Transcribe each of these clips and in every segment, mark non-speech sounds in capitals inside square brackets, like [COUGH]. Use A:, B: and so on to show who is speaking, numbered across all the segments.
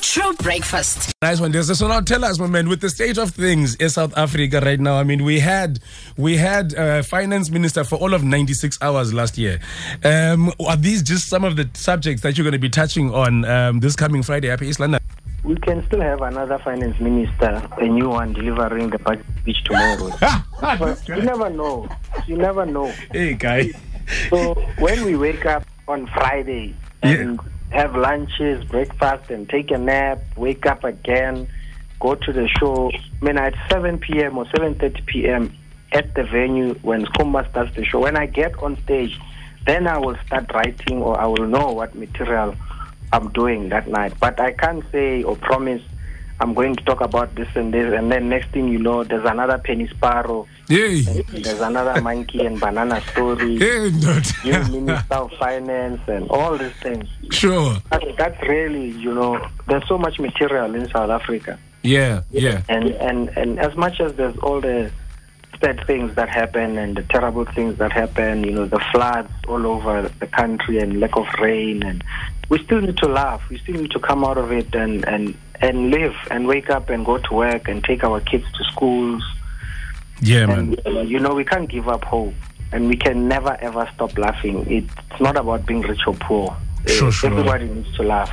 A: True breakfast.
B: Nice one, Desa. So now tell us, my man, with the state of things in South Africa right now, I mean, we had we had uh, finance minister for all of 96 hours last year. Um, are these just some of the subjects that you're going to be touching on um, this coming Friday? Happy East [LAUGHS] London.
C: We can still have another finance minister, a new one, delivering the budget speech tomorrow.
B: Ah,
C: but you never know. You never know.
B: Hey, guy.
C: So
B: [LAUGHS]
C: when we wake up on Friday and have lunches, breakfast, and take a nap, wake up again, go to the show. I mean, at 7 p.m. or 7:30 p.m. at the venue when Skumba starts the show. When I get on stage, then I will start writing or I will know what material I'm doing that night. But I can't say or promise. I'm going to talk about this and this, and then next thing you know, there's another penny sparrow,
B: Yay.
C: there's another monkey and banana story,
B: Hey,
C: [LAUGHS] new
B: ndoda.
C: minister of finance, and all these things.
B: [LAUGHS] Sure.
C: That's, that's really, you know, there's so much material in South Africa,
B: Yeah, yeah.
C: and and and as much as there's all the sad things that happen and the terrible things that happen, you know, the floods all over the country and lack of rain, and we still need to laugh. We still need to come out of it and and and live and wake up and go to work and take our kids to schools.
B: Yeah, man.
C: And, uh, you know, we can't give up hope, and we can never ever stop laughing. It's not about being rich or poor. Uh,
B: Sure, sure.
C: Everybody needs to laugh.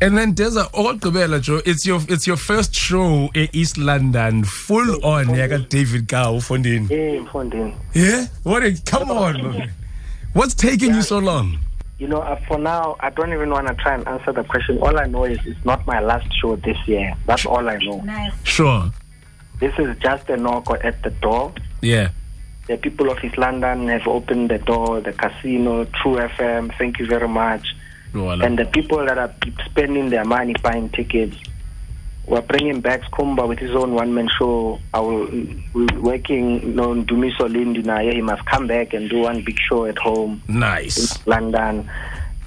B: And then Deza Olkubela Joe, it's your it's your first show in East London, full on. Yeah, I got David Gao funding.
C: Hey, Mfondini.
B: Yeah? What a, come on. man. What's taking you so long?
C: You know, uh, for now, I don't even want to try and answer the question. All I know is it's not my last show this year. That's all I know.
A: Nice.
B: Sure.
C: This is just a knock at the door.
B: Yeah.
C: The people of East London have opened the door, the casino, True FM, thank you very much.
B: No, I love-
C: And the people that are spending their money buying tickets, we're bringing back Skumba with his own one-man show. I will, we're working you know, Dumiso Lindina. Yeah, he must come back and do one big show at home. in
B: nice.
C: London.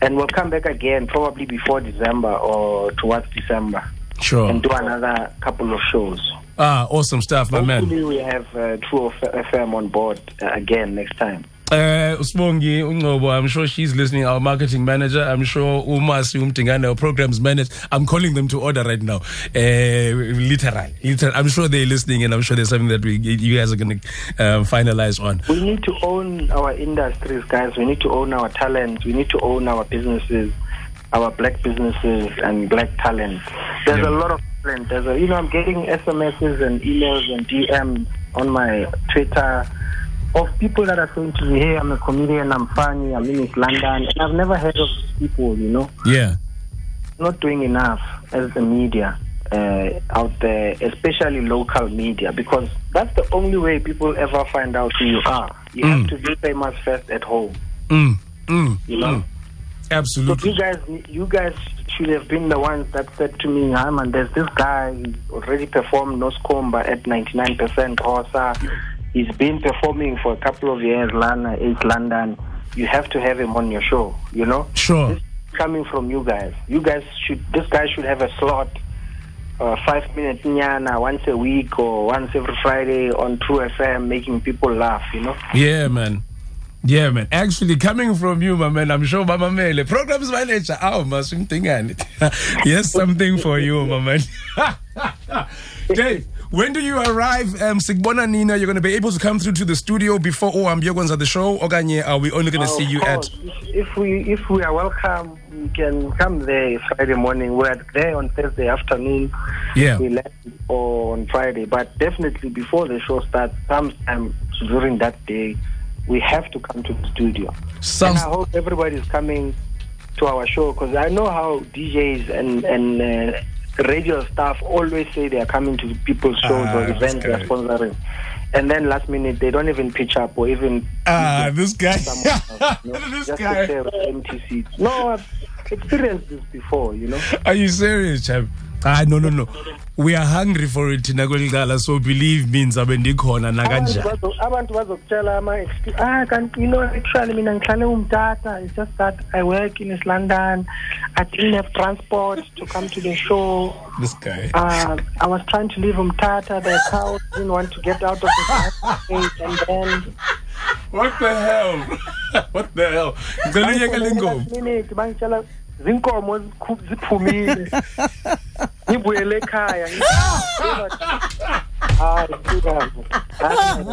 C: And we'll come back again probably before December or towards December
B: Sure.
C: and do another couple of shows.
B: Ah, awesome stuff, my man.
C: Hopefully, we have uh, True F- FM on board uh, again next time.
B: Uh, Spongi, Ungobo, I'm sure she's listening, our marketing manager. I'm sure Umasi Umtingana, our programs manager. I'm calling them to order right now. Uh, literal, literal. I'm sure they're listening and I'm sure there's something that we, you guys are going to um, finalize on.
C: We need to own our industries, guys. We need to own our talents. We need to own our businesses, our black businesses and black talent. There's
B: Yeah.
C: a lot of talent. There's a, you know, I'm getting SMSs and emails and DM on my Twitter of people that are saying to me, "Hey, I'm a comedian. I'm funny. I'm in East London," and I've never heard of these people. You know,
B: Yeah.
C: not doing enough as the media. Uh, out there, especially local media, because that's the only way people ever find out who you are. You have to be famous first at home,
B: Mm, mm,
C: you know. So
B: absolutely.
C: you guys, you guys should have been the ones that said to me, "Ah, man, there's this guy he's already performed Noscomba at 99% Hosa. He's been performing for a couple of years, Lana, East London. You have to have him on your show, you know."
B: Sure.
C: This is coming from you guys. You guys should. This guy should have a slot, uh, five minute nyana once a week or once every Friday on True FM, making people laugh, you know.
B: Yeah, man. Yeah, man. Actually, coming from you, my man, I'm sure Mama Mele, programs manager, oh, Masum Tingani. [LAUGHS] Yes, something for you, my man. [LAUGHS] Dave, when do you arrive? Um, Sigbona Nina, you're going to be able to come through to the studio before Oambiogon's at the show? Oganye, are we only going to
C: Oh,
B: see
C: of
B: you
C: course.
B: at.
C: If if we if we are welcome, we can come there Friday morning. We're there on Thursday afternoon.
B: Yeah.
C: We left on Friday, but definitely before the show starts, sometime during that day, we have to come to the studio. And
B: Sounds.
C: I hope everybody's coming to our show because I know how DJs and and uh, radio staff always say they are coming to people's shows
B: Ah,
C: or
B: that's
C: events they're
B: good.
C: sponsoring, and then last minute they don't even pitch up or even
B: Ah, this guy.
C: someone else, you
B: [LAUGHS]
C: know,
B: this
C: just
B: guy.
C: to share with empty seats. No, I've experienced this before, you know.
B: Are you serious, champ? Ah, no, no, no. We are hungry for it, Nagoligala, so believe me,
C: Oh
B: Zabendikhona,
C: Abantu
B: Naganja.
C: bazo- abantu bazokutshela ama-excuse, ah kanti you know actually mina ngihlale umtata it's just that i work in east london i didn't have transport to come to the show
B: This guy.
C: uh, i was trying to leave umtata the cow didn't want to get out of the bus gate and then
B: [LAUGHS] What the hell? what the hell? Ngicela uyeke le ngoma.
C: minute bangitshela zinkomo zikhu- ziphumile ngibuyele ekhaya hayi sikazi hayi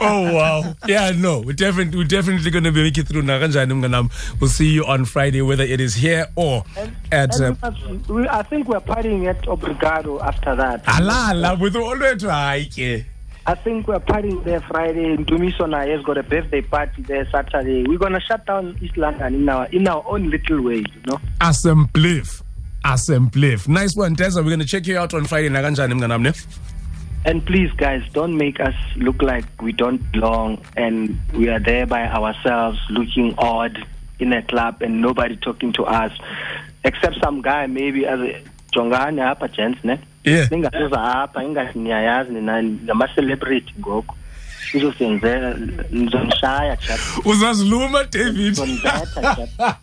B: oh wow yeah no we're, definitely we're definitely going to be making it through nakanjani mnganam we'll see you on friday whether it is here or at uh,
C: And we must- we, I think we're partying at Obrigado after that.
B: alala with olwethu hayi ke
C: I think we're partying there Friday. Dumisona has got a birthday party there Saturday. We're gonna shut down East London in our in our own little way, you know.
B: assemblif assemblif nice one teza we're going to check you out on friday nakanjani mnganam ne
C: And please, guys, don't make us look like we don't belong and we are there by ourselves, looking odd in a club and nobody talking to us, except some guy maybe as a jongani apha gents ne
B: Yeah.
C: ningasoza apha ingathi niyayazi nina ngama-celebrity ngoku izosenzela nizondishaya chap
B: uzaziluma david
C: nizondibetha chap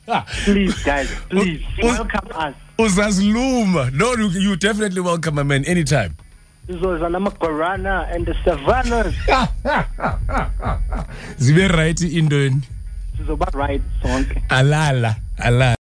C: please guys please welcome us
B: [LAUGHS] uzaziluma no you, you definitely welcome my man anytime
C: sizoza namagorana and the savannas
B: [LAUGHS] zibe right intoni
C: sizoba right sonke
B: alala alala